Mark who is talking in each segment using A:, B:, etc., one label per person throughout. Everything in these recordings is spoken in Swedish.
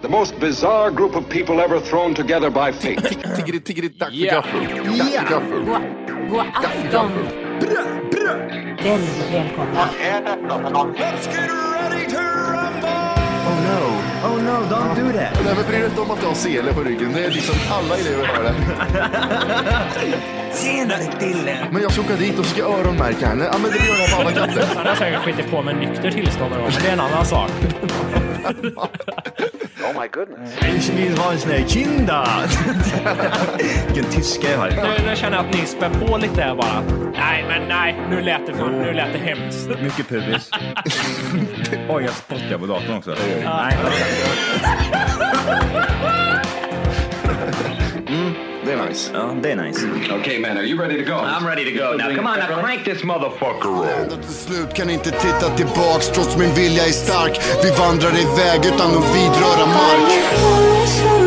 A: The most bizarre group of people ever thrown together by fate.
B: Tiggeri, tiggeri, dack för
C: Ja.
B: gaffel. Dack för gaffel.
D: God afton! Väldigt välkomna.
B: Oh no.
E: Oh no, don't do that.
B: Nej men bry dig inte om att du har sele på ryggen. Det är liksom alla elever har det.
E: Senare Dille.
B: Men jag ska åka dit och ska öronmärka henne. Ja men det gör jag på alla katter.
C: Han har säkert skitit på med nykter tillstånd någon gång, men det är en annan sak.
E: Ich vill ha en sån här kinda. Vilken tyska jag har.
C: Nu, nu känner jag att ni spär på lite här bara. Nej, men nej. Nu lät det, fan, nu lät det hemskt.
F: Mycket pubis. Oj, jag spottar på datorn också. Nej,
B: Det är nice.
F: ja, det är nice.
A: okay, man, are you ready to go?
G: I'm ready to go now. Come on, now crank this motherfucker up.
H: Ändå till slut kan inte titta tillbaks trots min vilja är stark. Vi vandrar iväg utan att vidröra mark.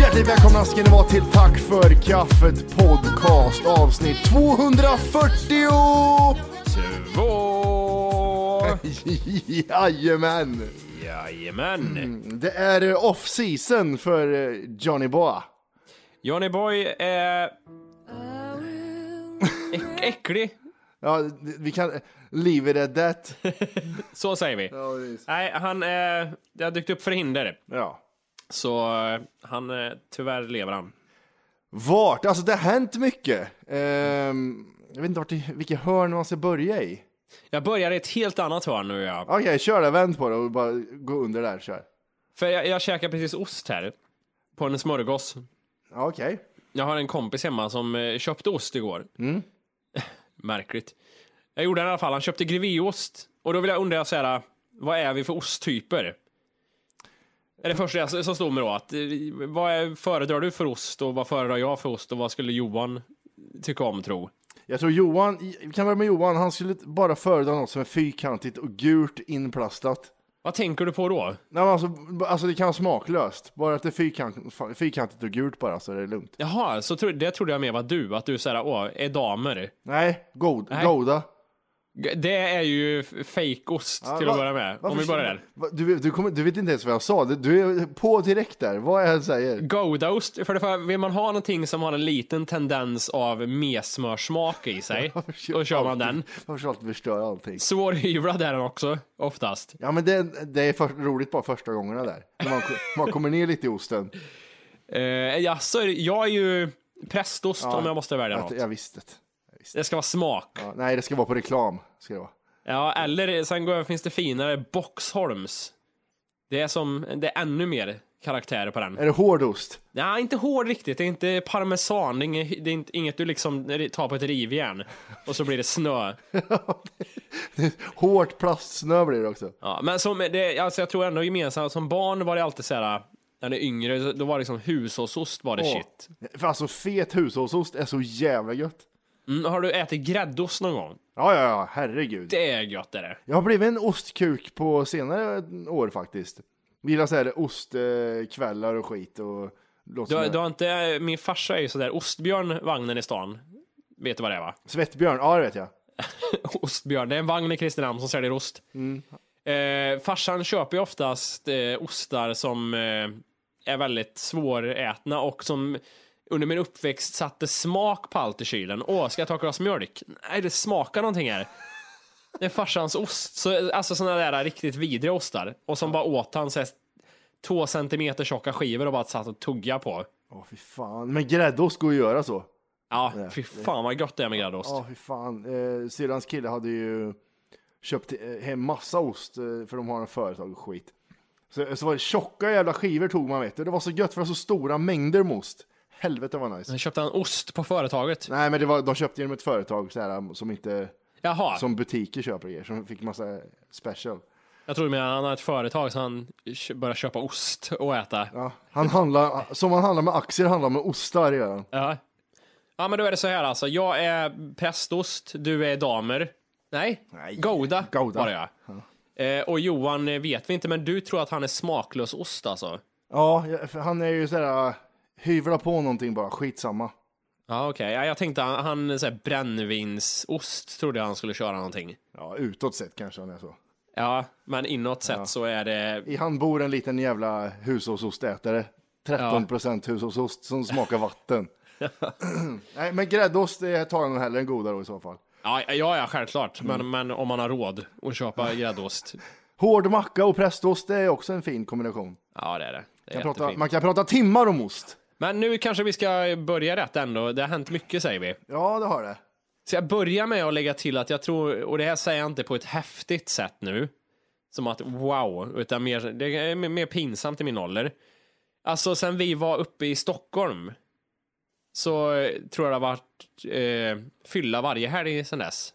B: Hjärtligt välkomna ska ni vara till Tack för kaffet podcast avsnitt 240!
C: Två!
B: Jajamän!
C: Jajamän.
B: Det är eh, off season för eh, Johnny Boa.
C: Johnny Boy är... Äck, äcklig.
B: Ja, d- vi kan... Leave it at that.
C: Så säger vi. Nej, han... Eh, det har dykt upp förhinder.
B: Ja.
C: Så eh, han... Eh, tyvärr lever han.
B: Vart? Alltså det har hänt mycket. Ehm, jag vet inte vart, i- vilket hörn man ska börja i.
C: Jag börjar i ett helt annat hörn nu. Ja.
B: Okej, kör det. Vänd på det och bara gå under där. Kör.
C: För jag, jag käkar precis ost här. På en smörgås.
B: Ja, Okej.
C: Jag har en kompis hemma som eh, köpte ost igår.
B: Mm.
C: Märkligt. Jag gjorde det i alla fall. Han köpte grevéost. Och då vill jag undra så här, vad är vi för osttyper? Är det första jag- som slog mig då att eh, vad är, föredrar du för ost och vad föredrar jag för ost och vad skulle Johan tycka om tro?
B: Jag tror Johan, vi kan börja med Johan, han skulle bara föredra något som är fyrkantigt och gult inplastat.
C: Vad tänker du på då?
B: Nej, men alltså, b- alltså det kan vara smaklöst, bara att det är fyrkant, fa- fyrkantigt och gult bara så är det lugnt.
C: Jaha, så tro, det trodde jag mer var du, att du såhär, åh, edamer.
B: Nej, god,
C: Nej.
B: goda.
C: G- Det är ju f- fejkost
B: Ja,
C: till
B: va-
C: att börja med. Om
B: varför-
C: vi börjar där.
B: va- Du, vet- du, kommer, du vet inte ens vad jag sa, du, du är på direkt där, vad jag än säger.
C: Goudaost, för det för, vill man ha någonting som har en liten tendens av messmörsmak i sig, då kör man den.
B: Jag försöker alltid förstöra allting.
C: Svårhyvlad är den också, oftast.
B: Ja men det, det är för, roligt bara första gångerna där, när man, man kommer ner lite i osten.
C: Uh, jaså, jag är ju prästost om jag måste välja
B: Att,
C: något.
B: jag visste det.
C: Det ska vara smak.
B: Ja, nej, det ska vara på reklam. Ska det vara.
C: Ja, eller sen går jag, finns det finare, Boxholms. Det är som, det är ännu mer karaktärer på den.
B: Är det hård ost?
C: Nej, inte hård riktigt. Det är inte parmesan. Det är inget, det är inte- inget du liksom tar på ett rivjärn och så blir det snö.
B: Hårt plastsnö blir det också.
C: Ja, men som, det, alltså jag tror ändå gemensamt, som barn var det alltid så här, när det är yngre, då var det liksom hushållsost var det
B: Åh.
C: shit.
B: För alltså fet hushållsost är så jävla gött.
C: Mm, har du ätit gräddost någon gång?
B: Ja, ja, ja, herregud.
C: Det är gött är det.
B: Jag har blivit en ostkuk på senare år faktiskt. Vi gillar såhär ostkvällar och skit och... Låter
C: Du, har-
B: som
C: du
B: en-
C: har inte, eh, min farsa är ju sådär, ostbjörn, vagnen i stan. Vet du vad det är va?
B: Svettbjörn, ja det vet jag.
C: Ostbjörn, det är en vagn i Kristinehamn som säljer ost. Eh, farsan köper ju oftast eh, ostar som eh, är väldigt svårätna och som under min uppväxt satte smak på allt i kylen. Åh, ska jag ta ett glas mjölk? Nej, det smakar någonting här. Det är farsans ost. Så, alltså sådana där riktigt vidriga ostar. Och som bara åt han så här, två centimeter tjocka skivor och bara satt och tugga på.
B: Åh fy fan, men gräddost går ju att göra så.
C: Ja, fy fan vad gött det är med gräddost.
B: Ja fy fan, eh, syrrans kille hade ju köpt eh, hem massa ost eh, för de har en företag och skit. Så, så var det tjocka jävla skivor tog man vet du, det var så gött för det var så stora mängder med ost. Helvete vad nice.
C: Sen köpte han ost på företaget.
B: Nej, men det var, de köpte genom ett företag så här, som inte
C: Jaha,
B: som butiker köper grejer, som fick massa special.
C: jag trodde mer han hade ett företag så han kö- började köpa ost och äta.
B: Ja, han handlar, som han handlar med aktier, handlar med ostar gör han.
C: Ja. Ja, men då är det så här alltså. Jag är prästost, du är damer. Nej,
B: Nej.
C: Gouda,
B: Gouda.
C: var jag. Eh, och Johan eh, vet vi inte, men du tror att han är smaklös ost alltså?
B: Ja, jag- för han är ju sådär, hyvla på någonting bara, skitsamma.
C: Ja, okej. Ja, jag tänkte han, han så här, brännvinsost trodde jag han skulle köra någonting.
B: Ja, utåt sett kanske han är så.
C: Ja, men inåt sett så är det...
B: I han bor en liten jävla hushållsostätare. 13 procent hushållsost som smakar vatten. Nej, men gräddost det tar han hellre än goda då i så fall.
C: Ja, ja, ja självklart.
B: Mm.
C: Men, men om man har råd att köpa gräddost.
B: Hård macka och prästost det är också en fin kombination.
C: Ja, det är det. det är
B: Man, prata,
C: jättefint.
B: man kan prata timmar om ost.
C: Men nu kanske vi ska börja rätt ändå. Det har hänt mycket säger vi.
B: Ja, det har det.
C: Så jag börjar med att lägga till att jag tror, och det här säger jag inte på ett häftigt sätt nu, som att wow, utan mer, det är mer pinsamt i min ålder. Alltså sen vi var uppe i Stockholm så eh, tror jag det har varit eh, fylla varje helg sen dess.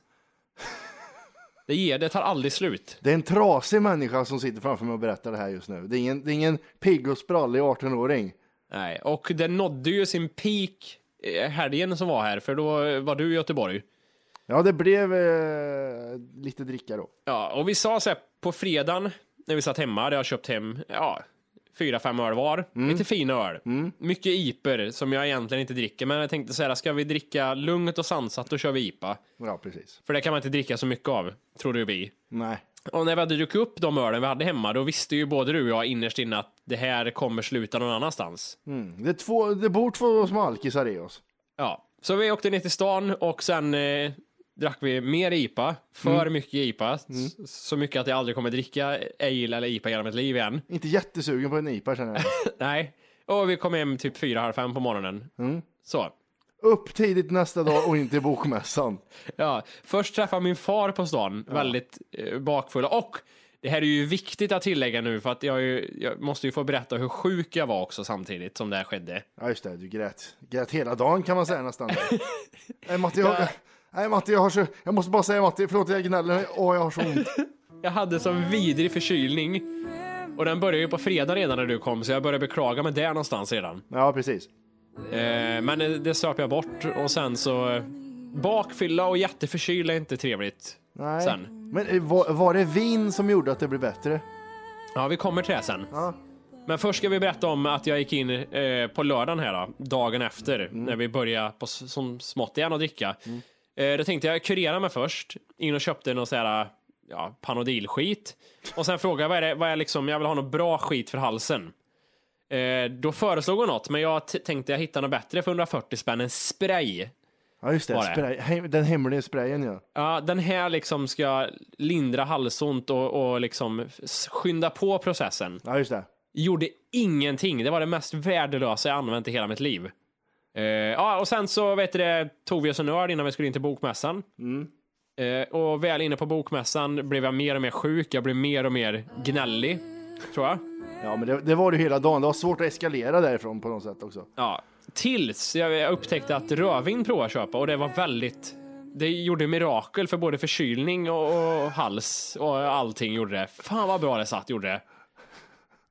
C: Det, ger, det tar aldrig slut.
B: Det är en trasig människa som sitter framför mig och berättar det här just nu. Det är ingen, det är ingen pigg och sprallig 18-åring.
C: Nej, och det nådde ju sin peak eh, helgen som var här, för då var du i Göteborg.
B: Ja, det blev eh, lite dricka då.
C: Ja, och vi sa så här på fredagen när vi satt hemma, där jag köpt hem ja, fyra, fem öl var. Lite fina öl. Mycket iper som jag egentligen inte dricker, men jag tänkte så här, ska vi dricka lugnt och sansat, då kör vi IPA.
B: Ja, precis.
C: För det kan man inte dricka så mycket av, tror du vi.
B: Nej.
C: Och när vi hade druckit upp de ölen vi hade hemma, då visste ju både du och jag innerst inne att det här kommer sluta någon annanstans.
B: Det, är två, det bor två små alkisar i oss.
C: Ja, så vi åkte ner till stan och sen eh, drack vi mer IPA, för mycket IPA, s- så mycket att jag aldrig kommer dricka ale eller IPA hela mitt liv igen.
B: Inte jättesugen på en IPA känner jag.
C: Nej. Och vi kom hem typ fyra, halv fem på morgonen. Så.
B: Upp tidigt nästa dag och inte i bokmässan.
C: Ja, först träffade min far på stan, väldigt eh, bakfull. Och det här är ju viktigt att tillägga nu, för att jag, är ju, jag måste ju få berätta hur sjuk jag var också samtidigt som det här skedde.
B: Ja, just det. Du grät. Grät hela dagen kan man säga nästan. Nej, Matti, jag, nej, Matti, jag har så... Jag måste bara säga Matti, förlåt jag gnäller. Åh, jag har så ont.
C: Jag hade sån vidrig förkylning. Och den började ju på fredag redan när du kom, så jag började beklaga mig där någonstans redan.
B: Ja, precis.
C: Eh, men det- det söp jag bort och sen så... eh, Bakfylla och jätteförkyld är inte trevligt.
B: Nej.
C: Sen.
B: Men eh, var, var det vin som gjorde att det blev bättre?
C: Ja, vi kommer till det sen. Men först ska vi berätta om att jag gick in eh, på lördagen här då, dagen efter när vi började på, s- som smått igen att dricka. Eh, då tänkte jag kurera mig först, in och köpte någon så här, ja, panodilskit och sen frågade jag vad är det, vad är liksom, jag vill ha något bra skit för halsen. Eh, då föreslog hon något, men jag t- tänkte jag hittar något bättre för 140 spänn, en spray.
B: Ja, just det.
C: Var det?
B: Spray, hem, den hemliga sprayen, ja.
C: Ja, den här liksom ska lindra halsont och, och liksom s- skynda på processen.
B: Ja, just det.
C: gjorde ingenting. Det var det mest värdelösa jag använt i hela mitt liv. Eh, ja, och sen så vet du det, tog vi oss en öl innan vi skulle in till bokmässan. Eh, och väl inne på bokmässan blev jag mer och mer sjuk. Jag blev mer och mer gnällig, tror jag.
B: Ja, men det, det var det hela dagen. Det var svårt att eskalera därifrån på något sätt också.
C: Ja, tills jag jag upptäckte att rödvin provade jag köpa och det var väldigt... Det gjorde mirakel för både förkylning och, och hals och allting gjorde det. Fan vad bra det satt, gjorde det.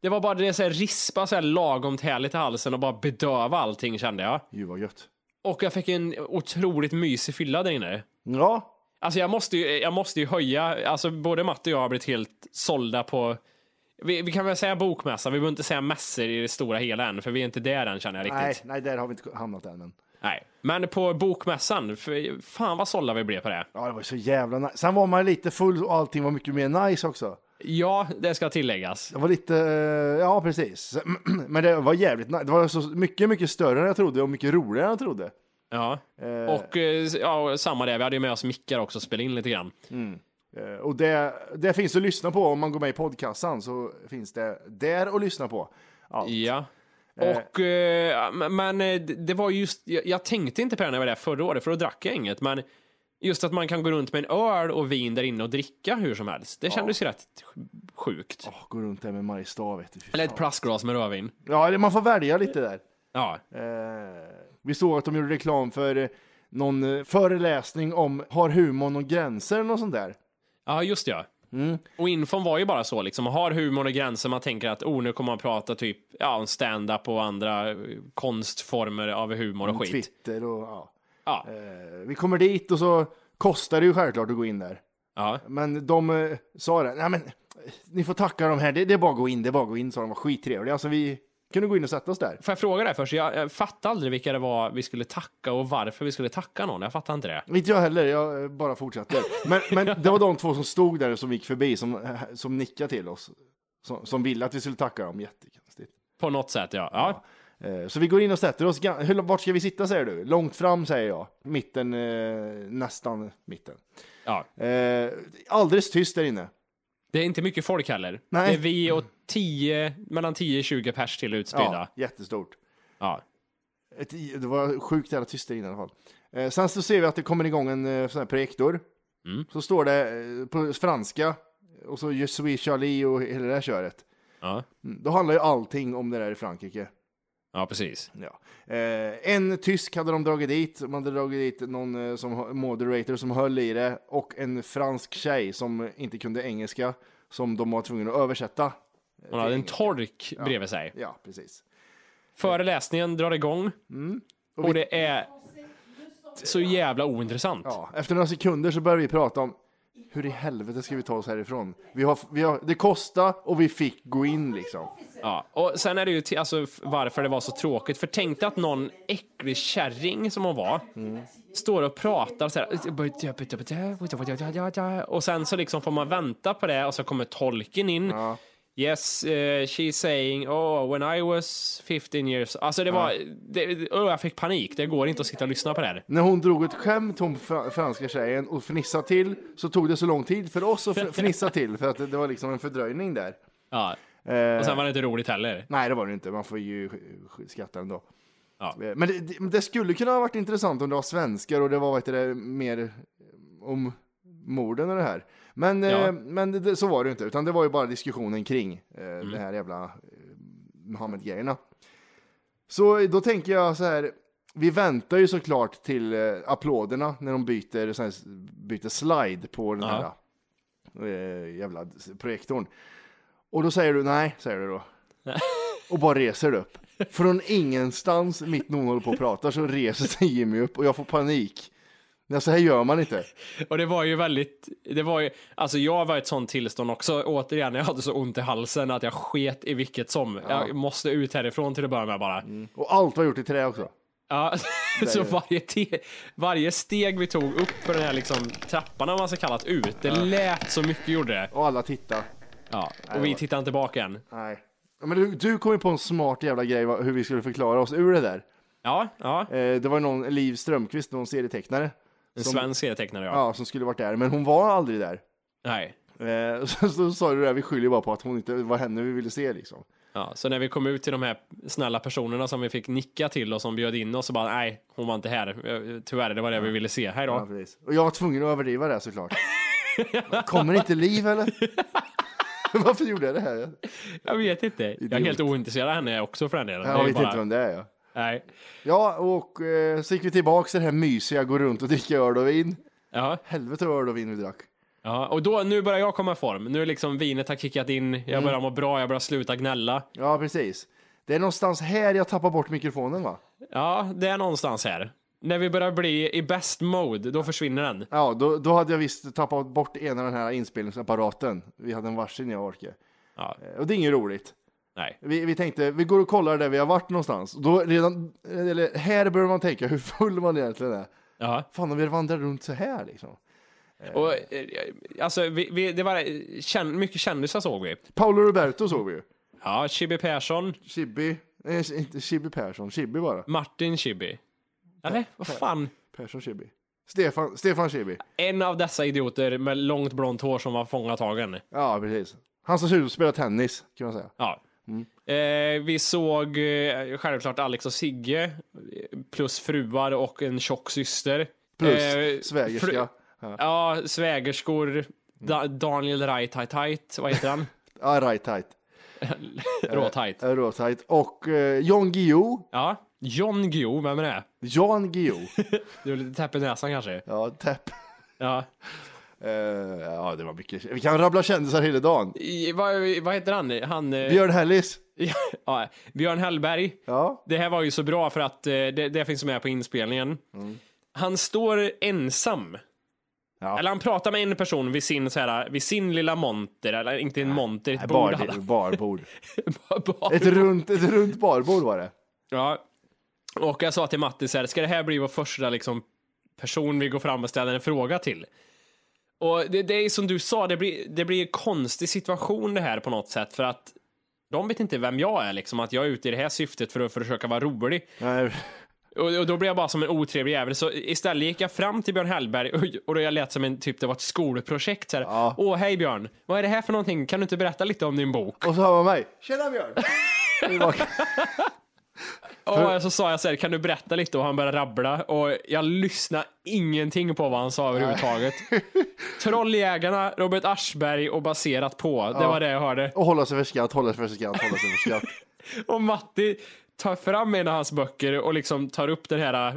C: Det var bara det så här rispa så här lagom härligt i halsen och bara bedöva allting kände jag.
B: Gud vad gött.
C: Och jag fick en otroligt mysig fylla där inne.
B: Ja,
C: Alltså jag måste ju, jag måste ju höja, alltså både Matte och jag har blivit helt sålda på vi, vi kan väl säga bokmässan, vi behöver inte säga mässor i det stora hela än, för vi är inte där än känner jag riktigt.
B: nej, nej, där har vi inte hamnat än. Men...
C: Nej, men på bokmässan, för fan vad sålla vi blev på det.
B: Ja, det var så jävla nice. Sen var man lite full och allting var mycket mer nice också.
C: Ja, det ska tilläggas.
B: Det var lite, eh, ja precis. Men det var jävligt nice. Det var så mycket, mycket större än jag trodde och mycket roligare än jag trodde.
C: Ja. Och eh, ja, samma där, vi hade ju med oss mickar också och spelade in lite grann.
B: Eh, Och det, det finns att lyssna på om man går med i podcastan så finns det där att lyssna på. Ja.
C: Ja. Och, eh, men- men eh, det var just, jag, jag tänkte inte på det när jag var där förra året, för då drack jag inget, men just att man kan gå runt med en öl och vin där inne och dricka hur som helst, det kändes ju rätt sjukt.
B: Åh, gå runt där med Mariestad vet du. Fy
C: Eller ett
B: fan.
C: plastglas med rödvin.
B: Ja, det- man får välja lite där.
C: Ja.
B: Eh, vi såg att de gjorde reklam för eh, någon eh, föreläsning om har humorn någon gränser eller något sånt där.
C: ja, just det, ja.
B: Mm.
C: Och infon var ju bara så, liksom, man har humorn och gränser, man tänker att oh, nu kommer man prata typ ja, om stand-up och andra eh, konstformer av humor och skit.
B: Twitter och ja.
C: Ja.
B: Mm, Eh, vi kommer dit och så kostar det ju självklart att gå in där.
C: Ja.
B: Men de eh, sa det, nej men eh, ni får tacka de här, det, det är bara att gå in, det är bara att gå in, sa de, var skittrevliga. Alltså vi kunde gå in och sätta oss där.
C: Får jag fråga dig först? Jag, jag fattade aldrig vilka det var vi skulle tacka och varför vi skulle tacka någon. Jag fattar inte det.
B: Inte jag heller, jag eh, bara fortsatte. Men, men det var de två som stod där och som gick förbi, som, eh, som nickade till oss. Som, som ville att vi skulle tacka dem, jättekonstigt.
C: På något sätt, ja. ja.
B: Eh, Så vi går in och sätter oss, gan- hur, vart ska vi sitta säger du? Långt fram säger jag, mitten, eh, nästan mitten.
C: ja.
B: Eh, alldeles tyst där inne.
C: Det är inte mycket folk heller.
B: Nej.
C: Det är vi och 10, mellan 10 och 20 pers till utspridda.
B: Ja, jättestort.
C: Ja.
B: Ett, det var sjukt jävla tyst där inne i alla fall. Eh, sen så ser vi att det kommer igång en eh, sån här projektor. Så står det eh, på franska och så Je suis Charlie och hela det här köret.
C: Ja.
B: Mm, då handlar ju allting om det där i Frankrike.
C: ja, precis.
B: Ja. Eh, en tysk hade de dragit dit, de hade dragit dit någon eh, som, hö- moderator som höll i det och en fransk tjej som inte kunde engelska som de var tvungna att översätta.
C: Hon hade en tork bredvid sig.
B: Ja, precis.
C: Föreläsningen drar igång och,
B: Mm. vi-
C: det är så jävla ointressant.
B: Ja, efter några sekunder så börjar vi prata om hur i helvete ska vi ta oss härifrån? Vi har, vi har, det kostar och vi fick gå in liksom.
C: Ja, och sen är det ju till, alltså, f- varför det var så tråkigt. För tänk dig att någon äcklig kärring som hon var
B: Mm.
C: står och pratar så här. Och sen så liksom får man vänta på det och så kommer tolken in. Yes, eh, she's saying, oh, when I was 15 years... Alltså det var... Det, oh, jag fick panik, det går inte att sitta och lyssna på det här.
B: När hon drog ett skämt, hon fra- franska tjejen, och fnissade till så tog det så lång tid för oss att fr- fnissa till för att det det var liksom en fördröjning där.
C: Ja.
B: Eh.
C: Och sen var det inte roligt heller.
B: Nej, det var det inte. Man får ju sk- sk- skratta ändå.
C: Ja.
B: Eh, Men det- det, men det skulle kunna ha varit intressant om det var svenskar och det var vad heter det, mer om morden och det här. Men, eh,
C: Ja.
B: men det- det, så var det inte, utan det var ju bara diskussionen kring eh,
C: Mm.
B: det här jävla eh, Mohammed-grejerna. Så då tänker jag så här, vi väntar ju såklart till eh, applåderna när de byter, så här, byter slide på den
C: Ja.
B: här eh, jävla projektorn. Och då säger du nej, säger du då. Och bara reser upp. Från ingenstans, mitt när hon håller på och pratar, så reser sig Jimmy upp och jag får panik. Nej, så här gör man inte.
C: Och det var ju väldigt, det var ju, alltså jag var i ett sånt tillstånd också, återigen, jag hade så ont i halsen att jag sket i vilket som. Jag måste ut härifrån till att börja med bara.
B: Och allt var gjort i trä också.
C: Ja, så
B: är Mm. det.
C: varje, te, varje steg vi tog upp för den här liksom trappan, om man ska kalla det, ut, det lät så mycket gjorde det.
B: Och alla tittar.
C: Ja, och vi tittade inte tillbaka än.
B: Nej. Ja, Men du, du kom ju på en smart jävla grej va- hur vi skulle förklara oss ur det där.
C: Ja, ja,
B: Eh, det var ju någon, Liv Strömqvist, någon serietecknare.
C: en
B: Som-
C: svensk serietecknare ja.
B: Ja, som skulle varit där, men hon var aldrig där.
C: Nej.
B: Eh, så, så sa du det där, vi skyller ju bara på att hon inte, det var henne vi ville se liksom.
C: Ja, så när vi kom ut till de här snälla personerna som vi fick nicka till och som bjöd in oss och bara nej, hon var inte här. Eh, Tyvärr, det var det vi ville se. Hej då.
B: Ja, precis. Och jag var tvungen att överdriva det här, såklart. Kommer inte liv eller? Varför gjorde jag det här?
C: Jag vet inte. Jag är helt ointresserad av henne också för den delen. Det
B: Jag
C: är
B: vet
C: bara-
B: inte vem det är. Ja,
C: Nej.
B: ja och eh, så gick vi tillbaka till det här mysiga, gå runt och dricka öl och vin.
C: Ja,
B: Helvete vad öl och vin vi drack.
C: ja. Och då, nu börjar jag komma i form. Nu är liksom vinet har kickat in, jag
B: Mm.
C: börjar må bra, jag börjar sluta gnälla.
B: Ja, precis. Det är någonstans här jag tappar bort mikrofonen va?
C: Ja, det är någonstans här. När vi börjar bli i best mode, då försvinner den.
B: Ja, då, då hade jag visst tappat bort ena den här inspelningsapparaten. Vi hade en varsin jag orkar.
C: Ja.
B: Och det är inget roligt.
C: Nej.
B: Vi, vi tänkte, vi går och kollar där vi har varit någonstans. Och Då redan, eller här börjar man tänka hur full man egentligen är.
C: Ja.
B: Fan om vi vandrar runt så här liksom.
C: Och, eh, alltså, vi, vi, det var eh, känn, mycket kändisar såg vi.
B: Paolo Roberto såg vi ju.
C: Ja, Chibi Persson,
B: Chibi, nej inte Chibi Persson, Chibi bara.
C: Martin Chibi. Eller? Vad fan?
B: Persson Chibi. Stefan, Stefan Chibi.
C: En av dessa idioter med långt blont hår som var fångatagen.
B: Ja, precis. Han som ser ut att spela tennis, kan man säga.
C: Ja. Eh, vi såg eh, självklart Alex och Sigge, eh, plus fruar och en tjock syster.
B: Plus
C: Eh,
B: svägerska.
C: fru- ja, svägerskor. Da- Daniel Raitajtajt, vad heter han?
B: Ja, right tight.
C: Råtajt.
B: Eh, Råtajt. Och eh, Jan Guillou.
C: Ja. John Guillou, vem är det?
B: Jan Guillou.
C: Du är lite täpp i näsan kanske?
B: Ja, täpp.
C: Ja.
B: Eh, ja, det var mycket. Vi kan rabbla kändisar hela dagen.
C: I, vad, vad heter han? Han... eh,
B: Björn Hellis.
C: ja, Björn Hellberg.
B: Ja.
C: Det här var ju så bra för att eh, det, det finns med på inspelningen. Han står ensam.
B: Mm. Ja.
C: Eller han pratar med en person vid sin, så här, vid sin lilla monter, eller inte en monter, ett bord.
B: Bar,
C: alla.
B: barbord.
C: Bar-
B: Ett runt, ett runt barbord var det.
C: Ja. Och jag sa till Matti så här, ska det här bli vår första liksom, person vi går fram och ställer en fråga till? Och det, det är som du sa, det blir, det blir en konstig situation det här på något sätt för att de vet inte vem jag är liksom, att jag är ute i det här syftet för att försöka vara rolig.
B: Nej,
C: Och, och då blev jag bara som en otrevlig jävel, så istället gick jag fram till Björn Hellberg och, och då jag lät som en typ, det var ett skolprojekt så här.
B: Ja.
C: Åh, hej Björn, vad är det här för någonting? Kan du inte berätta lite om din bok?
B: Och så hör man mig. Tjena Björn! Tillbaka.
C: Och så sa jag så här, kan du berätta lite? Och han började rabbla och jag lyssnade ingenting på vad han sa överhuvudtaget. Trolljägarna, Robert Aschberg och Baserat på. Det var det jag hörde.
B: och hålla sig för skratt, hålla sig för skratt, hålla sig för skratt.
C: Och Matti tar fram en av hans böcker och liksom tar upp den här,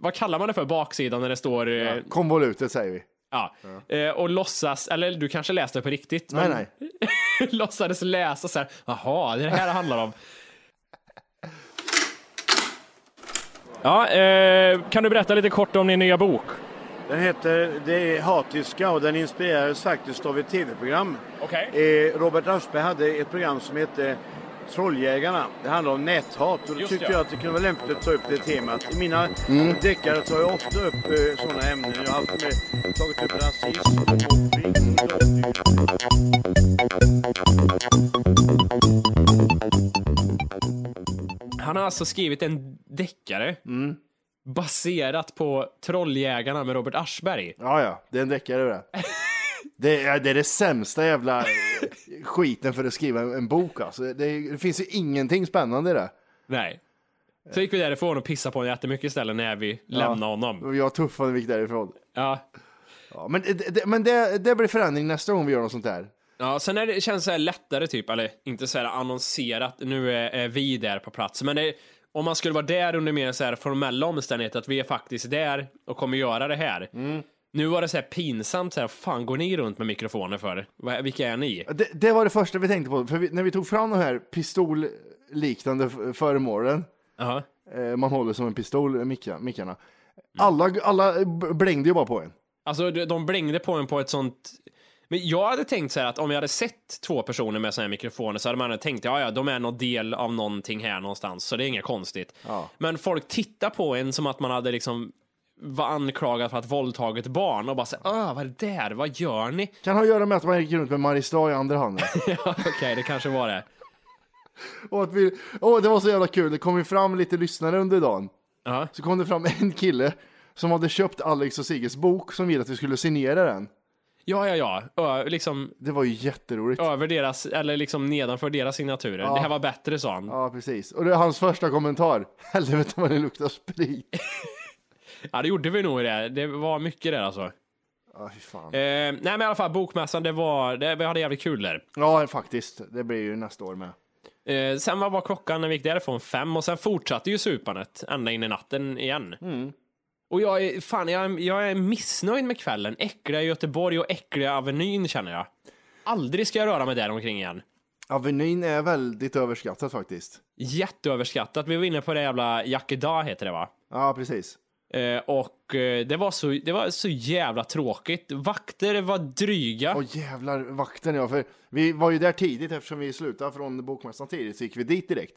C: vad kallar man det för, baksidan när det står... eh,
B: Konvolutet säger vi.
C: Ja. Eh, Och låtsas, eller du kanske läste det på riktigt.
B: Nej,
C: men
B: nej.
C: låtsades läsa så här, jaha, det är det här det handlar om. Ja, eh, kan du berätta lite kort om din nya bok?
I: Den heter Det är hatiska och den inspirerades faktiskt av ett tv-program.
C: Okej.
I: Eh, Robert Aschberg hade ett program som hette Trolljägarna. Det handlar om näthat och då
C: Just
I: tyckte
C: det.
I: jag att det kunde vara lämpligt att ta upp det temat. I mina deckare tar jag ofta upp eh, sådana ämnen. Jag har haft med, tagit upp rasism och
C: Han har alltså skrivit en deckare baserat på Trolljägarna med Robert Aschberg.
B: Ja, ja, det är en deckare det. Det är, det är det sämsta jävla eh, skiten för att skriva en, en bok alltså. Det, är- det finns ju ingenting spännande i det.
C: Nej. Så gick vi därifrån och pissade på honom jättemycket istället när vi lämnade honom.
B: Och Jag tuffade mig därifrån.
C: Ja.
B: Ja, men det- det, men det, det blir förändring nästa gång vi gör något sånt här.
C: Ja, sen är det, känns det så här lättare typ, eller inte så här annonserat, nu är, är vi där på plats. Men det, om man skulle vara där under mer så här formella omständigheter, att vi är faktiskt där och kommer göra det här. Nu var det så här pinsamt, så här, fan går ni runt med mikrofoner för? Va- Vilka är ni?
B: Det, det var det första vi tänkte på, för vi, när vi tog fram de här pistolliknande f- föremålen,
C: Jaha.
B: eh, man håller som en pistol, eh, micka- mickarna. Alla, alla b- blängde ju bara på en.
C: Alltså de de blängde på en på ett sånt... Men jag hade tänkt så här att om jag hade sett två personer med såna här mikrofoner så hade man tänkt ja, ja, de är någon del av någonting här någonstans, så det är inget konstigt.
B: Ja.
C: Men folk tittar på en som att man hade liksom var anklagad för att våldtagit barn och bara säger ah, vad är det där, vad gör ni?
B: Kan ha att göra med att man gick runt med Mariestad i andra handen.
C: Ja, Okej, det kanske var det.
B: och att vi, åh, det var så jävla kul, det kom ju fram lite lyssnare under dagen.
C: Ja.
B: Så kom det fram en kille som hade köpt Alex och Sigges bok som ville att vi skulle signera den.
C: Ja, ja, ja, Ö, liksom
B: Det var ju jätteroligt.
C: över deras, eller liksom nedanför deras signaturer. Det här var bättre, sa han. Ja,
B: Ja, precis. Och det är hans första kommentar. Helvete vad det luktar sprit.
C: det gjorde vi nog i det. Det var mycket där alltså.
B: Ja, fy fan.
C: Eh, nej men i alla fall bokmässan, det var, det, vi hade jävligt kul där.
B: Ja, faktiskt. Det blir ju nästa år med.
C: Eh, sen vad var klockan när vi gick därifrån? Fem och sen fortsatte ju supandet ända in i natten igen.
B: Mm.
C: Och jag är, fan, jag, jag är missnöjd med kvällen. Äckliga Göteborg och äckliga Avenyn känner jag. Aldrig ska jag röra mig där omkring igen.
B: Avenyn är väldigt överskattat faktiskt.
C: Jätteöverskattat. Vi var inne på det jävla Jackedag heter det va?
B: Ja, precis.
C: Eh, och eh, det var, så, det var så jävla tråkigt. Vakter var dryga.
B: Och jävlar vakten ja, för vi var ju där tidigt eftersom vi slutade från bokmässan tidigt så gick vi dit direkt.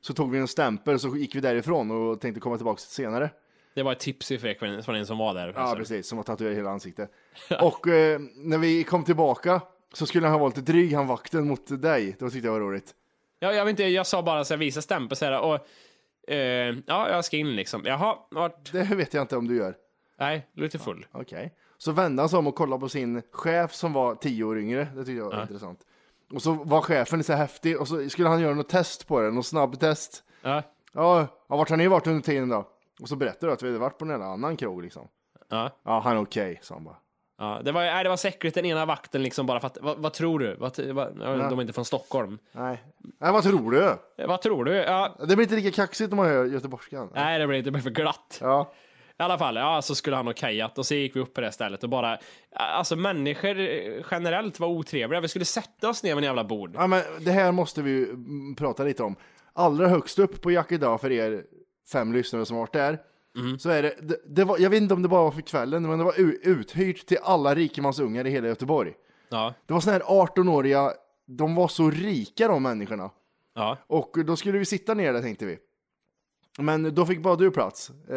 B: Så tog vi en stämpel så gick vi därifrån och tänkte komma tillbaka senare.
C: Det var ett tips i frekven- från en som var där.
B: Ja, precis. Som har tatuerat hela ansiktet. Och eh, när vi kom tillbaka så skulle han ha varit dryg, han vakten, mot dig. Det tyckte jag var roligt.
C: Ja, jag vet inte, jag sa bara så jag visade stämpel så här och eh, ja, jag ska in liksom. Jaha, vart?
B: Det vet jag inte om du gör.
C: Nej, lite full.
B: Okej. Så vände han sig om och kollade på sin chef som var tio år yngre. Det tyckte jag var intressant. Och så var chefen så här häftig och så skulle han göra något test på den, något snabbtest.
C: Ja,
B: Ja, ja vart har ni varit under tiden då? Och så berättade du att vi hade varit på en eller annan krog liksom.
C: ja.
B: Ja, han är okej, sa han bara.
C: Ja, det, var, nej, det var säkert den ena vakten liksom bara för att, vad, vad tror du? Vad, vad, De är inte från Stockholm.
B: Nej. Nej, vad tror du?
C: Eh, Vad tror du? Ja,
B: Det blir inte lika kaxigt om man hör göteborgskan.
C: nej, det blir inte det blir för glatt.
B: Ja.
C: I alla fall, ja, så skulle han ha kajat och så gick vi upp på det stället och bara, alltså människor eh, generellt var otrevliga. Vi skulle sätta oss ner vid en jävla bord.
B: ja, men det här måste vi ju mm, prata lite om. Allra högst upp på Jack idag för er fem lyssnare som har varit där.
C: Mm.
B: Så är det, det, det var, jag vet inte om det bara var för kvällen, men det var u- uthyrt till alla rikemansungar i hela Göteborg.
C: Ja,
B: Det var såna här 18-åriga, de var så rika de människorna.
C: ja,
B: Och då skulle vi sitta ner där tänkte vi. Men då fick bara du plats. Eh,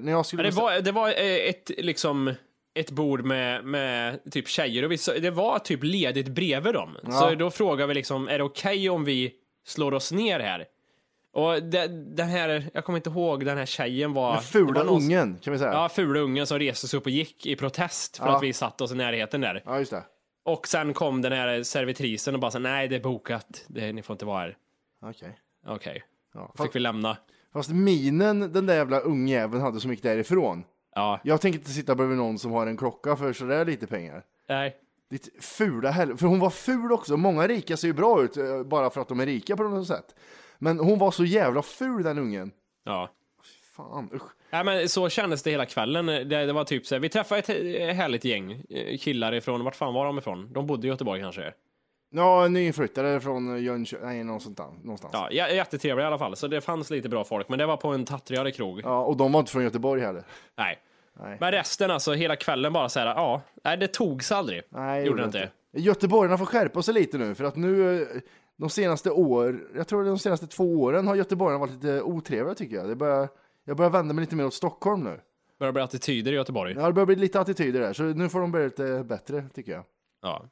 B: när jag skulle...
C: Men det var, det var eh, ett, liksom, ett bord med, med typ tjejer och vi, så- det var typ ledigt bredvid dem. Så då frågade vi liksom, är det okej om vi slår oss ner här? Och det, den här, jag kommer inte ihåg, den här tjejen var...
B: Den
C: det
B: fula
C: var någon-
B: ungen kan vi säga.
C: Ja,
B: Ja,
C: fula ungen som reste sig upp och gick i protest för
B: Ja.
C: att vi satt oss i närheten där.
B: just det.
C: Och sen kom den här servitrisen och bara sa, nej det är bokat, det, ni får inte vara här.
B: Okej.
C: Okej,
B: Ja, fast,
C: fick vi lämna.
B: fast minen den där jävla ungjäveln hade som gick därifrån.
C: Ja,
B: Jag tänker inte sitta bredvid någon som har en klocka för sådär lite pengar.
C: nej.
B: Ditt fula helvete. För hon var ful också. Många rika ser ju bra ut eh, bara för att de är rika på något sätt. Men hon var så jävla ful den ungen.
C: Ja.
B: Fan usch.
C: Nej, men så kändes det hela kvällen. Det, det var typ så här, vi träffade ett eh, härligt gäng eh, killar ifrån, vart fan var de ifrån? De bodde i Göteborg kanske.
B: Ja, nyinflyttade från Jönköping. Nej, någonstans. där, någonstans. Ja.
C: Ja, jä- jättetrevliga i alla fall, så det fanns lite bra folk, men det var på en tattrigare krog.
B: och de var inte från Göteborg heller.
C: Nej.
B: Nej.
C: Men resten alltså, hela kvällen bara så här, ja, nej det togs aldrig.
B: Nej,
C: gjorde det inte.
B: Göteborgarna får skärpa sig lite nu för att nu eh, de senaste år, jag tror de senaste två åren har göteborgarna varit lite otrevliga tycker jag. Det börjar, jag börjar vända mig lite mer åt Stockholm nu.
C: Började bli attityder i Göteborg.
B: Ja, det börjar bli lite attityder där, så nu får de börja lite bättre tycker jag.
C: Ja.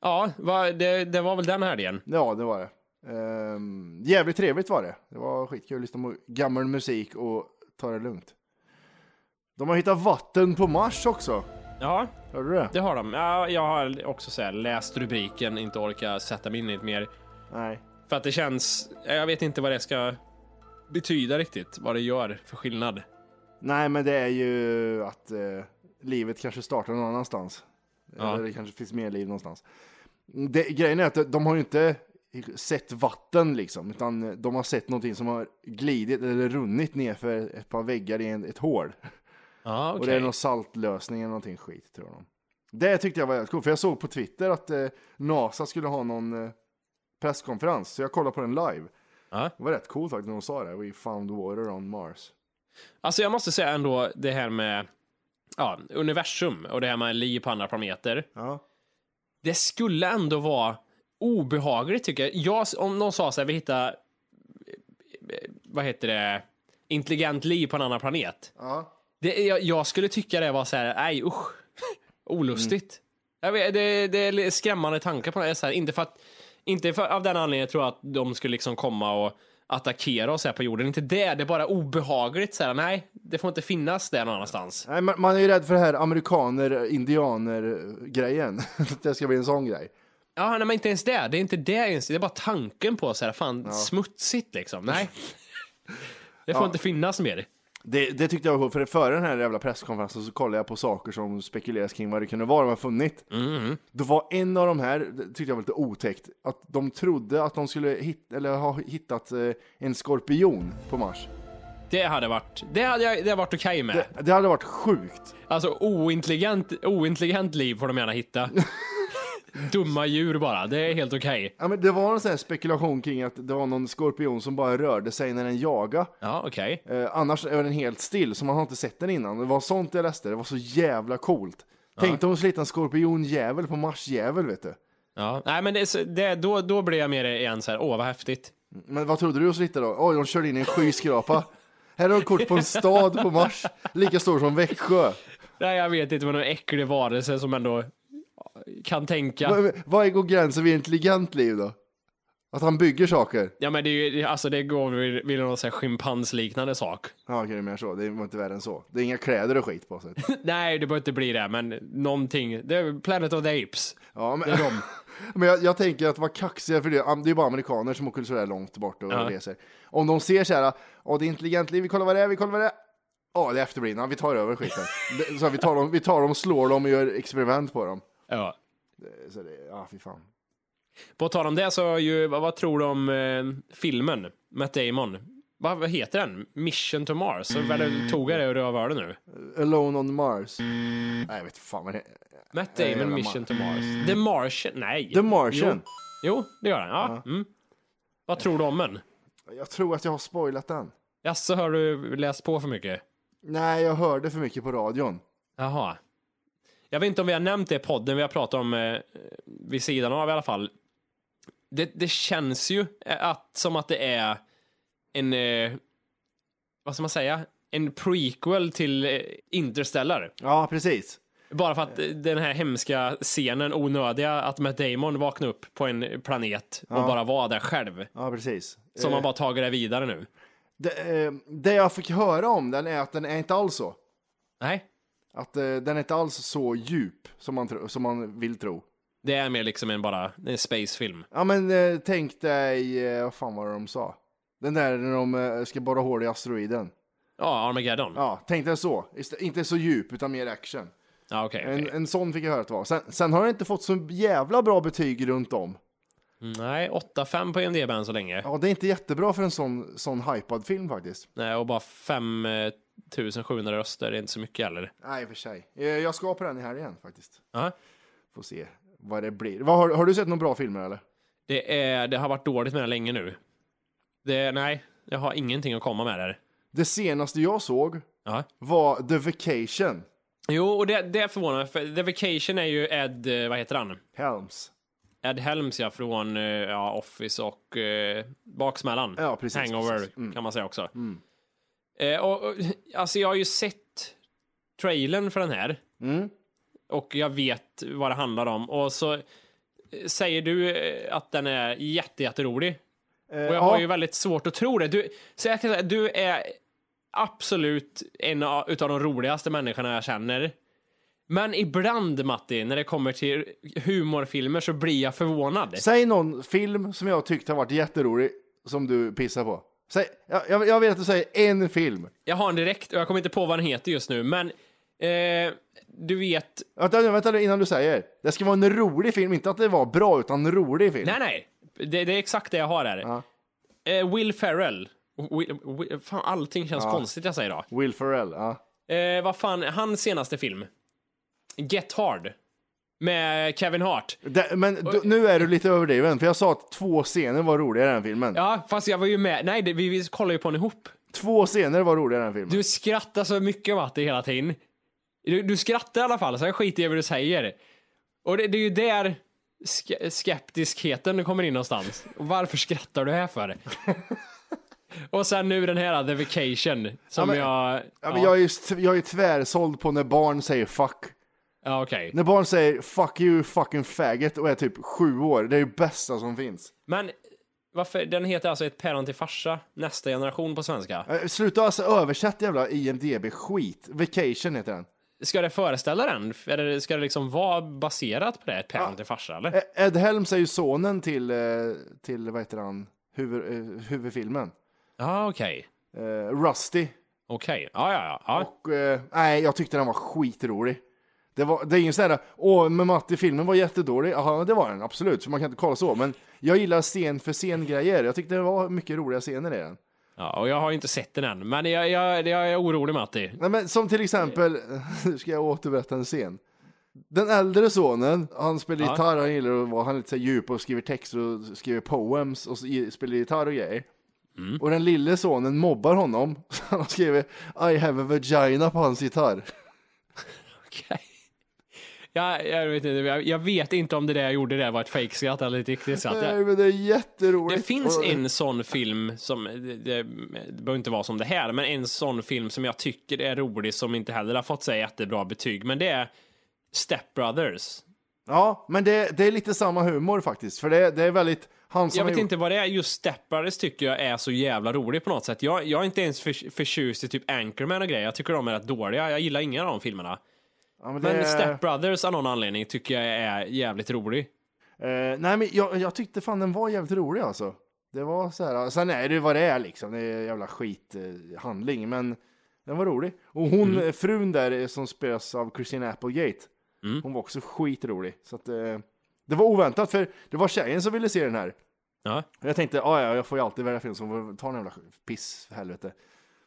C: Ja, va, det, det var väl den helgen.
B: Ja, det var det. Ehm, jävligt trevligt var det. Det var skitkul att lyssna på gammal musik och ta det lugnt. De har hittat vatten på Mars också.
C: Ja,
B: Hörde du det?
C: det har de. Ja, jag har också så här, läst rubriken, inte orkat sätta mig in i det mer.
B: Nej.
C: För att det känns, jag vet inte vad det ska betyda riktigt, vad det gör för skillnad.
B: Nej, men det är ju att eh, livet kanske startar någon annanstans.
C: Ja.
B: Eller det kanske finns mer liv någonstans. Det, grejen är att de har ju inte sett vatten liksom, utan de har sett någonting som har glidit eller runnit ner för ett par väggar i en, ett hål.
C: Ja,
B: Och
C: okej.
B: det är någon saltlösning eller någonting skit tror de. Det tyckte jag var jävligt coolt, för jag såg på Twitter att eh, NASA skulle ha någon eh, presskonferens, så jag kollade på den live.
C: Ja.
B: Det var rätt coolt faktiskt när de sa det, We found water on Mars.
C: Alltså jag måste säga ändå det här med ja, universum och det här med liv på andra planeter.
B: Ja.
C: Det skulle ändå vara obehagligt tycker jag. jag om någon sa så här, vi hittar, eh, vad heter det, intelligent liv på en annan planet.
B: Ja.
C: Det, är- jag, jag skulle tycka det var så här, nej usch, olustigt. Jag vet, det, det är skrämmande tankar på det här, så här. Inte för att, inte för, av den anledningen tror jag att de skulle liksom komma och attackera oss här på jorden. Inte det, det är bara obehagligt så här, nej, det får inte finnas där någon annanstans.
B: Nej, man, man är ju rädd för det här amerikaner, indianer eh, grejen. Att det ska bli en sån grej.
C: Ja, nej, men inte ens det, det är inte det ens, det är bara tanken på så här, fan smutsigt liksom, nej. Det får inte finnas mer.
B: Det, det tyckte jag var coolt, för före den här jävla presskonferensen så kollade jag på saker som spekuleras kring vad det kunde vara de har funnit. Då var en av de här, det tyckte jag var lite otäckt, att de trodde att de skulle hit, eller ha hittat eh, en skorpion på Mars.
C: Det hade varit, det hade jag det hade varit okej med.
B: Det, det hade varit sjukt.
C: Alltså ointelligent, ointelligent liv får de gärna hitta. Dumma djur bara, det är helt okej.
B: Ja, men det var en sån här spekulation kring att det var någon skorpion som bara rörde sig när den jagade.
C: Ja, okej.
B: Eh, annars är den helt still, så man har inte sett den innan. Det var sånt jag läste, det var så jävla coolt. Tänkte om de skulle hitta en skorpionjävel på Marsjävel, vet du.
C: Ja. Nej, men det, är så- det, då, då blir jag mer igen så här, åh vad häftigt.
B: Men vad trodde du att hitta då? Oj, de körde in i en skyskrapa. Här har du kort på en stad på Mars, lika stor som Växjö.
C: Nej, jag vet inte vad någon äcklig varelse som ändå kan tänka.
B: Vad- Vad går gränsen vid intelligent liv då? Att han bygger saker?
C: Ja, men det, är ju- alltså, det går vid, vid någon så här schimpansliknande sak.
B: Ja, okej, du menar så. Det var inte värre än så. Det är inga kläder och skit på sig.
C: Nej, det behöver inte bli det, men någonting. Det är Planet of the Apes.
B: Ja, men, men jag, jag tänker att vara kaxiga för det, am- det är ju bara amerikaner som åker sådär långt bort och
C: Ja.
B: reser. Om de ser så här, åh det är intelligent liv, vi kollar vad det är, vi kollar vad det är. Ja, det är efterblivna. Vi tar över skiten. Det- Så här, vi, tar dem, vi tar dem, slår dem och gör experiment på dem.
C: Ja.
B: Så det, ja, fy fan.
C: På tal om det så har ju, vad, vad tror du om eh, filmen? Matt Damon. Vad, vad heter den? Mission to Mars? Så
B: Mm.
C: väl tog jag det och röv öronen nu.
B: Alone on Mars. Nej, jag vet fan vad det är.
C: Matt
B: Eh, jävla
C: Damon, Mission to Mars. The Martian? Nej.
B: The Martian.
C: Jo, jo det gör den. Ja. Mm. Vad tror du om den?
B: Jag tror att jag har spoilat den.
C: Jaså, har du läst på för mycket?
B: Nej, jag hörde för mycket på radion.
C: Jaha. Jag vet inte om vi har nämnt det i podden, vi har pratat om eh, vid sidan av i alla fall. Det, det känns ju eh, att, som att det är en, eh, vad ska man säga, en prequel till eh, Interstellar.
B: Ja, precis.
C: Bara för att eh, den här hemska scenen, onödiga, att Matt Damon vaknar upp på en planet och bara var där själv.
B: Ja, precis.
C: Som man bara tagit det vidare nu.
B: Det, eh, det jag fick höra om den är att den är inte alls så.
C: Nej,
B: Att eh, den är inte alls så djup som man, tro, som man vill tro.
C: det är mer liksom en bara, en spacefilm.
B: Ja, men eh, tänk dig, eh, vad fan var det de sa? Den där när de eh, ska borra hål i asteroiden.
C: Ja, Armageddon. Ja,
B: Ja, tänk dig så. Ist- Inte så djup, utan mer action.
C: okej. okej.
B: En, en sån fick jag höra att det var. Sen, sen har det inte fått så jävla bra betyg runt om.
C: Nej, 8-5 på IMDB än så länge.
B: Ja, det är inte jättebra för en sån, sån hypad film faktiskt.
C: Nej, och bara 5700 röster, det är inte så mycket heller.
B: Nej, i och för sig. Eh, Jag ska på den här igen faktiskt.
C: Ja.
B: Får se vad det blir. Vad, har, har du sett några bra filmer eller?
C: Det, är, det har varit dåligt med den länge nu. Det, nej, jag har ingenting att komma med där.
B: Det senaste jag såg
C: Ja.
B: var The Vacation.
C: Jo, och det, det förvånar mig, för The Vacation är ju Ed, eh, vad heter han?
B: Helms.
C: Ed Helms ja, från eh, ja, Office och eh, Baksmällan.
B: Ja, precis,
C: Hangover
B: precis. Mm.
C: kan man säga också. Eh, och, och, alltså jag har ju sett trailern för den här.
B: Mm.
C: Och jag vet vad det handlar om. Och så eh, säger du eh, att den är jätte, jätterolig.
B: Eh,
C: Och jag
B: ja,
C: har ju väldigt svårt att tro det. Du, så jag kan säga, du är absolut en av utav de roligaste människorna jag känner. Men ibland, Matti, när det kommer till humorfilmer så blir jag förvånad.
B: Säg någon film som jag tyckt har varit jätterolig som du pissar på. Säg, jag, jag- jag vet att du säger en film.
C: Jag har en direkt och jag kommer inte på vad den heter just nu, men eh, du vet...
B: Vänta, nu, vänta nu, innan du säger. Det ska vara en rolig film, inte att det var bra utan en rolig film.
C: Nej, nej. Det, det är exakt det jag har här.
B: Ja.
C: Eh, Will Ferrell. Will, Will, fan, allting känns konstigt jag säger idag.
B: Will Ferrell, ja.
C: Eh, vad fan, hans senaste film. Get Hard. Med Kevin Hart.
B: Det, men du, nu är du lite överdriven, för jag sa att två scener var roligare än filmen.
C: Ja, fast jag var ju med. Nej, det, vi, vi kollade ju på den ihop.
B: Två scener var roligare än filmen.
C: Du skrattar så mycket Matti hela tiden. Du, du skrattar i alla fall, så jag skiter i vad du säger. Och det, det är ju där ske- skeptiskheten kommer in någonstans. Och varför skrattar du här för? Och sen nu den här The Vacation som
B: men-
C: jag...
B: Ja, men jag är, ju- jag är tvärsåld på när barn säger fuck.
C: ja, okej.
B: När barn säger fuck you fucking faggot och är typ sju år, det är ju bästa som finns.
C: Men varför, den heter alltså Ett päron till farsa, nästa generation på svenska.
B: Eh, Sluta alltså översätta jävla IMDB-skit. Vacation heter den.
C: Ska det föreställa den? Eller ska det liksom vara baserat på det, Ett päron till farsa? Eller?
B: E- Ed Helms är ju sonen till, eh, till vad heter han, huvud, eh, huvudfilmen.
C: Ja, okej.
B: Eh, Rusty.
C: Okej. Ja, ja, ja. ja.
B: Och, eh, nej, jag tyckte den var skitrolig. Det, var, det är ingen sån här, åh, men Matti, filmen var jättedålig. Jaha, det var den, absolut, för man kan inte kolla så. Men jag gillar scen för scen-grejer. Jag tyckte det var mycket roliga scener i den.
C: Ja, och jag har inte sett den än, men jag, jag, jag är orolig Matti.
B: Nej, men som till exempel, nu ska jag återberätta en scen. Den äldre sonen, han spelar
C: Ja.
B: gitarr, han gillar att vara han är lite så här djup och skriver texter och skriver poems och så i- spelar gitarr och grejer.
C: Mm.
B: Och den lille sonen mobbar honom, så han har skrivit I have a vagina på hans gitarr.
C: Okej. Jag, jag, vet inte, jag, jag vet inte om det där jag gjorde där var ett fejkskratt eller ett riktigt skratt.
B: Nej,
C: Det,
B: men det är jätteroligt.
C: det finns
B: Och-
C: en sån film som, det, det, det behöver inte vara som det här, men en sån film som jag tycker är rolig som inte heller har fått sig jättebra betyg, men det är Step Brothers.
B: Ja, men det, det är lite samma humor faktiskt, för det, det är väldigt... Han som
C: Jag
B: har
C: vet
B: gjort-
C: inte vad det är, just Step Brothers tycker jag är så jävla rolig på något sätt. Jag, jag är inte ens för, förtjust i typ Anchorman och grejer, jag tycker de är rätt dåliga, jag gillar inga av de filmerna.
B: Ja, men det
C: Men
B: är-
C: Step Brothers av någon anledning tycker jag är jävligt rolig.
B: Eh, nej, men jag, jag tyckte fan den var jävligt rolig alltså. Det var så här, sen är det ju vad det är liksom, det är jävla skithandling, eh, men Den var rolig. Och hon,
C: Mm.
B: frun där eh, som spelas av Christine Applegate,
C: Mm.
B: hon var också skitrolig. Så att, eh, det var oväntat, för det var tjejen som ville se den här.
J: Ja.
B: Och Jag tänkte, "Ah, ja, jag får ju alltid välja film som får ta en jävla piss, för helvete.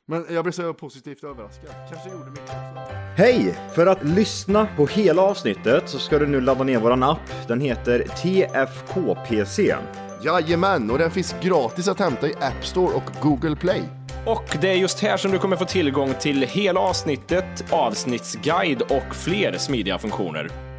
B: Men jag blev så positivt överraskad. Kanske gjorde mycket också.
E: Hej! För att lyssna på hela avsnittet så ska du nu ladda ner våran app. Den heter TFKPC.
B: Jajamän, och den finns gratis att hämta i App Store och Google Play.
C: Och det är just här som du kommer få tillgång till hela avsnittet, avsnittsguide och fler smidiga funktioner.